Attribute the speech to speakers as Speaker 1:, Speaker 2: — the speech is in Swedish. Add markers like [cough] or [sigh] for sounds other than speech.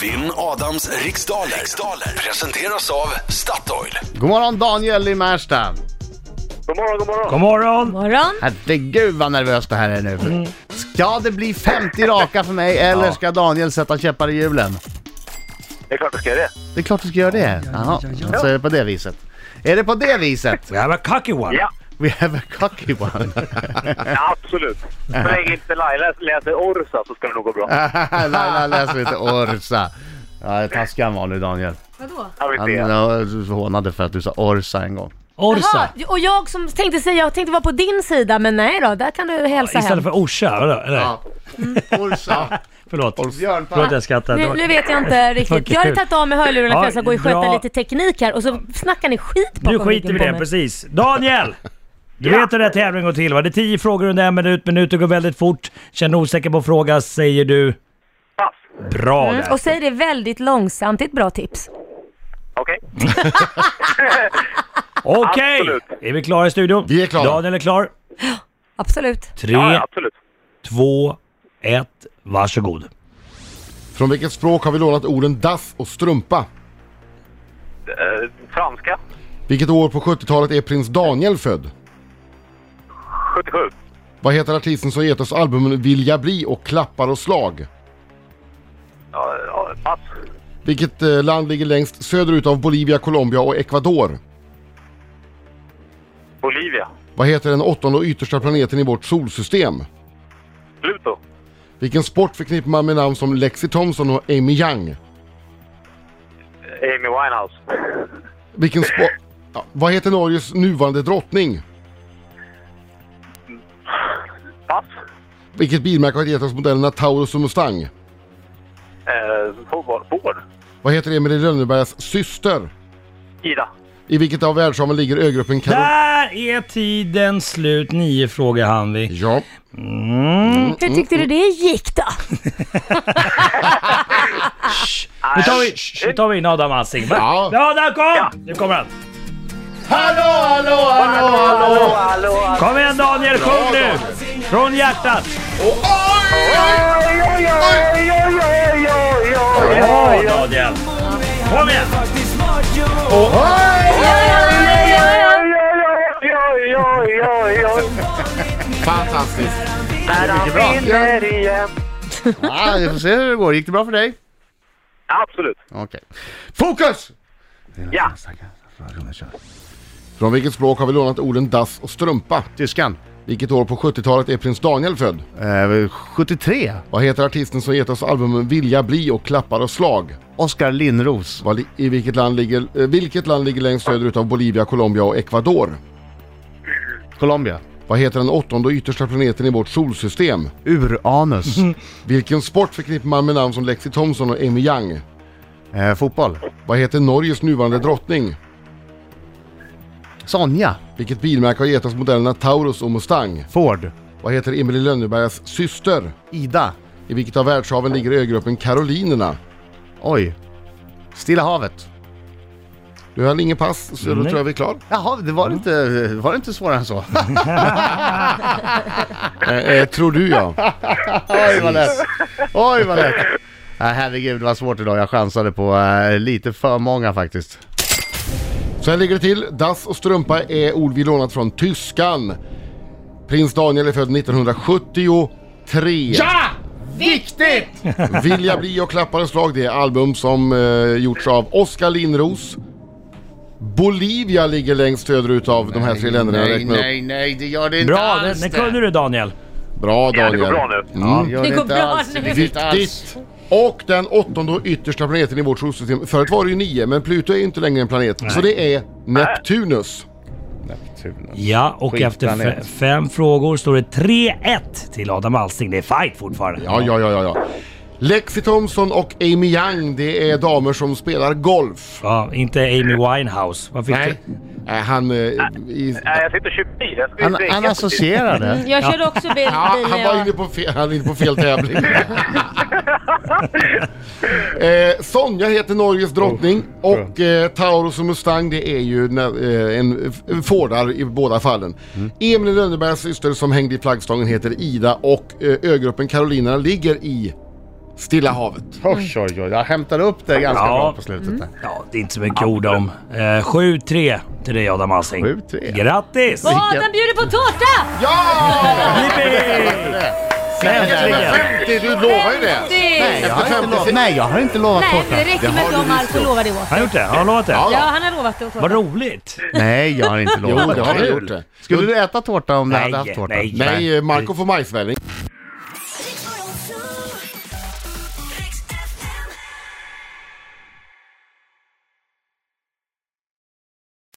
Speaker 1: Vinn Adams riksdaler. riksdaler presenteras av Statoil.
Speaker 2: God morgon Daniel i Märsta.
Speaker 3: God morgon, god morgon.
Speaker 4: God morgon!
Speaker 5: morgon.
Speaker 2: Herregud vad nervöst det här är nu. Ska det bli 50 raka för mig eller ska Daniel sätta käppar i hjulen?
Speaker 3: Det är klart du ska göra det.
Speaker 2: Det är klart du ska göra det. Jaha, så är det på det viset. Är det på det viset?
Speaker 4: We have a cocky one!
Speaker 3: Ja,
Speaker 2: We have a cocky one.
Speaker 3: ja absolut. Så länge inte Laila läser Orsa så ska det nog gå bra.
Speaker 2: Laila läser inte Orsa. Ja, taskig han var nu Daniel.
Speaker 5: Vadå?
Speaker 3: Jag vill
Speaker 2: Han
Speaker 3: se.
Speaker 2: han hånade för att du sa Orsa en gång.
Speaker 4: Orsa!
Speaker 5: Jaha, och jag som tänkte säga, jag tänkte vara på din sida, men nej då, där kan du hälsa
Speaker 4: Istället
Speaker 5: hem.
Speaker 4: för Orsa, vadå? Eller?
Speaker 2: Orsa.
Speaker 4: Förlåt.
Speaker 2: Björn Park.
Speaker 4: Förlåt jag skrattade. [laughs] Det
Speaker 5: Nu,
Speaker 4: var-
Speaker 5: nu vet jag inte riktigt. Jag hade tagit av mig hörlurarna för att jag ska gå och sköta
Speaker 4: Bra.
Speaker 5: lite teknik här och så snackar ni skit bakom
Speaker 4: Nu skiter
Speaker 5: ryggen
Speaker 4: vi
Speaker 5: på
Speaker 4: i det,
Speaker 5: mig.
Speaker 4: precis. Daniel! Du vet hur den här tävlingen går till va? Det är tio frågor under en minut, minuten går väldigt fort. Känner du osäker på fråga säger du
Speaker 3: Pass.
Speaker 4: bra
Speaker 5: Mm,
Speaker 4: där.
Speaker 5: och säg det väldigt långsamt, det är ett bra tips.
Speaker 3: Okej.
Speaker 4: Okej!
Speaker 3: absolut.
Speaker 4: Är vi klara i studion?
Speaker 2: Vi är klara.
Speaker 4: Daniel är klar.
Speaker 5: Absolut.
Speaker 3: Ja,
Speaker 4: Tre,
Speaker 3: ja, absolut.
Speaker 4: två, ett, varsågod.
Speaker 6: Från vilket språk har vi lånat orden dass och strumpa?
Speaker 3: Eh, franska.
Speaker 6: Vilket år på 70-talet är prins Daniel född?
Speaker 3: 77.
Speaker 6: Vad heter artisten som gett oss albumen Vill jag bli och Klappar och slag?
Speaker 3: Ja, ja, pass.
Speaker 6: Vilket eh, land ligger längst söderut av Bolivia, Colombia och Ecuador?
Speaker 3: Bolivia.
Speaker 6: Vad heter den åttonde och yttersta planeten i vårt solsystem?
Speaker 3: Pluto.
Speaker 6: Vilken sport förknippar man med namn som Lexi Thompson och Amy Young?
Speaker 3: Amy Winehouse.
Speaker 6: Vilken
Speaker 3: [laughs]
Speaker 6: sport... Ja, vad heter Norges nuvarande drottning?
Speaker 3: Pass.
Speaker 6: Vilket bilmärke har gett oss modellerna Taurus och Mustang?
Speaker 3: Eh, fotboll. Ford.
Speaker 6: Vad heter Emil i Lönnebergas syster?
Speaker 3: Ida.
Speaker 6: I vilket av världshaven ligger ögruppen Karol...
Speaker 4: Där är tiden slut. Nio frågor hann vi.
Speaker 6: Ja.
Speaker 5: Hur
Speaker 4: Mm.
Speaker 5: tyckte du det gick då?
Speaker 4: Nu tar vi, nu tar vi in Adam Alsing. Va?
Speaker 6: Ja.
Speaker 4: ja, där kom! Nu kommer han.
Speaker 3: Hallå, hallå, hallå.
Speaker 4: Kom igen Daniel, sjung nu! Från hjärtat!
Speaker 3: Oj, oj, oj, oj, oj, oj, oj,
Speaker 4: Bra
Speaker 3: oj, oj.
Speaker 4: Daniel! Kom igen!
Speaker 3: Oj, oj, oj, oj.
Speaker 2: Fantastiskt.
Speaker 3: Där han vinner igen.
Speaker 2: Ja, vi får se hur det går. Gick det bra för dig?
Speaker 3: Absolut.
Speaker 2: Okej. Fokus!
Speaker 3: Ja.
Speaker 6: Från vilket språk har vi lånat orden dass och strumpa?
Speaker 2: Tyskan.
Speaker 6: Vilket år på 70-talet är prins Daniel född?
Speaker 2: Eh, 73.
Speaker 6: Vad heter artisten som gett oss albumen Vilja bli och Klappar och slag?
Speaker 2: Oskar Lindros.
Speaker 6: Vad li- I vilket land ligger, eh, vilket land ligger längst söderut av Bolivia, Colombia och Ecuador?
Speaker 2: Colombia.
Speaker 6: Vad heter den åttonde och yttersta planeten i vårt solsystem?
Speaker 2: Uranus.
Speaker 5: Mhm.
Speaker 6: Vilken sport förknippar man med namn som Lexi Thompson och Amy Young?
Speaker 2: eh, fotboll.
Speaker 6: Vad heter Norges nuvarande drottning?
Speaker 2: Sonja.
Speaker 6: Vilket bilmärke har gett oss modellerna Taurus och Mustang?
Speaker 2: Ford.
Speaker 6: Vad heter Emily Lönnebergas syster?
Speaker 2: Ida.
Speaker 6: I vilket av världshaven ligger ögruppen Karolinerna?
Speaker 2: Oj. Stilla havet.
Speaker 6: Du hade ingen pass, så då
Speaker 4: Nej.
Speaker 6: tror jag vi är klar.
Speaker 2: Jaha, det var, inte, var det inte svårare än så? [laughs]
Speaker 6: Eh, eh, tror du ja.
Speaker 2: Oj vad lätt! Oj vad lätt! Ja, herregud det var svårt idag, jag chansade på eh, lite för många faktiskt.
Speaker 6: Så här ligger det till. Dass och strumpa är ord vi lånat från tyskan. Prins Daniel är född 1973. Ja! [laughs] Viktigt! Vilja bli och klappar och slag, det är album som eh, gjorts av Oskar Lindros. Bolivia ligger längst söderut av de här tre länderna jag
Speaker 2: Nej,
Speaker 6: räknar upp.
Speaker 2: nej, nej, det gör det inte
Speaker 4: Bra, den,
Speaker 2: alls
Speaker 4: den kunde du Daniel.
Speaker 6: Bra
Speaker 3: Ja,
Speaker 6: Daniel. Mm.
Speaker 3: det går bra nu.
Speaker 2: Ja, det gör
Speaker 5: Det
Speaker 2: det
Speaker 5: går
Speaker 2: inte
Speaker 5: bra
Speaker 2: alls.
Speaker 5: nu.
Speaker 2: Det går inte alls.
Speaker 6: Viktigt! Och den åttonde och yttersta planeten i vårt solsystem. Förut var det ju nio, men Pluto är ju inte längre en planet. Så det är Neptunus.
Speaker 4: Ja, och efter
Speaker 2: Skitplanet.
Speaker 4: fe- fem frågor står det 3-1 till Adam Alsing. Det är fight fortfarande.
Speaker 6: Ja, ja, ja, ja. ja. Lexi Thompson och Amy Young, det är damer som spelar golf.
Speaker 4: Ja, inte Amy Winehouse. Vad fick
Speaker 6: Nej,
Speaker 4: du?
Speaker 6: äh, han... eh, I,
Speaker 3: Nej, jag sitter och kör bil. Jag ska
Speaker 2: Han,
Speaker 3: dricka
Speaker 2: han
Speaker 3: på
Speaker 2: [laughs]
Speaker 3: bil.
Speaker 2: associerade.
Speaker 5: Jag körde också bil,
Speaker 6: ja,
Speaker 5: bil
Speaker 6: han
Speaker 5: när
Speaker 6: var
Speaker 5: jag...
Speaker 6: inne på fel, han är inne på fel tävling. eh, Sonja heter Norges drottning och eh, Taurus och Mustang det är ju nä- eh, en f- en fårdar i båda fallen. Emil i Lönnebergs syster som hängde i flaggstången heter Ida och eh, ögruppen Karolina ligger i Stilla havet.
Speaker 2: Oj, oj, oj. Jag hämtade upp det ganska
Speaker 4: Ja.
Speaker 2: bra på slutet
Speaker 5: Mm.
Speaker 2: där.
Speaker 4: Ja, det är inte så mycket att orda om. Eh, 7-3 till dig Adam Alsing.
Speaker 2: 7-3.
Speaker 4: Grattis!
Speaker 5: Och Adam bjuder på tårta!
Speaker 6: Ja!
Speaker 4: Jippi! Äntligen!
Speaker 6: 50, du lovar ju det!
Speaker 5: Nej,
Speaker 2: Jag har inte lovat- Nej, jag har inte lovat
Speaker 5: Nej,
Speaker 2: tårta.
Speaker 5: det räcker med att de allt och lovar det åt.
Speaker 4: Han har gjort det? Har han lovat det?
Speaker 5: Ja, han har lovat det åt
Speaker 4: Vad
Speaker 5: tårta.
Speaker 4: roligt!
Speaker 2: Nej, jag har inte
Speaker 6: Jo,
Speaker 2: lovat
Speaker 6: det har
Speaker 2: tårta.
Speaker 6: jag gjort det.
Speaker 2: Skulle du äta tårta om du
Speaker 4: Nej,
Speaker 2: hade haft tårta?
Speaker 4: nej.
Speaker 6: Nej, eh, Marco får majsvälling.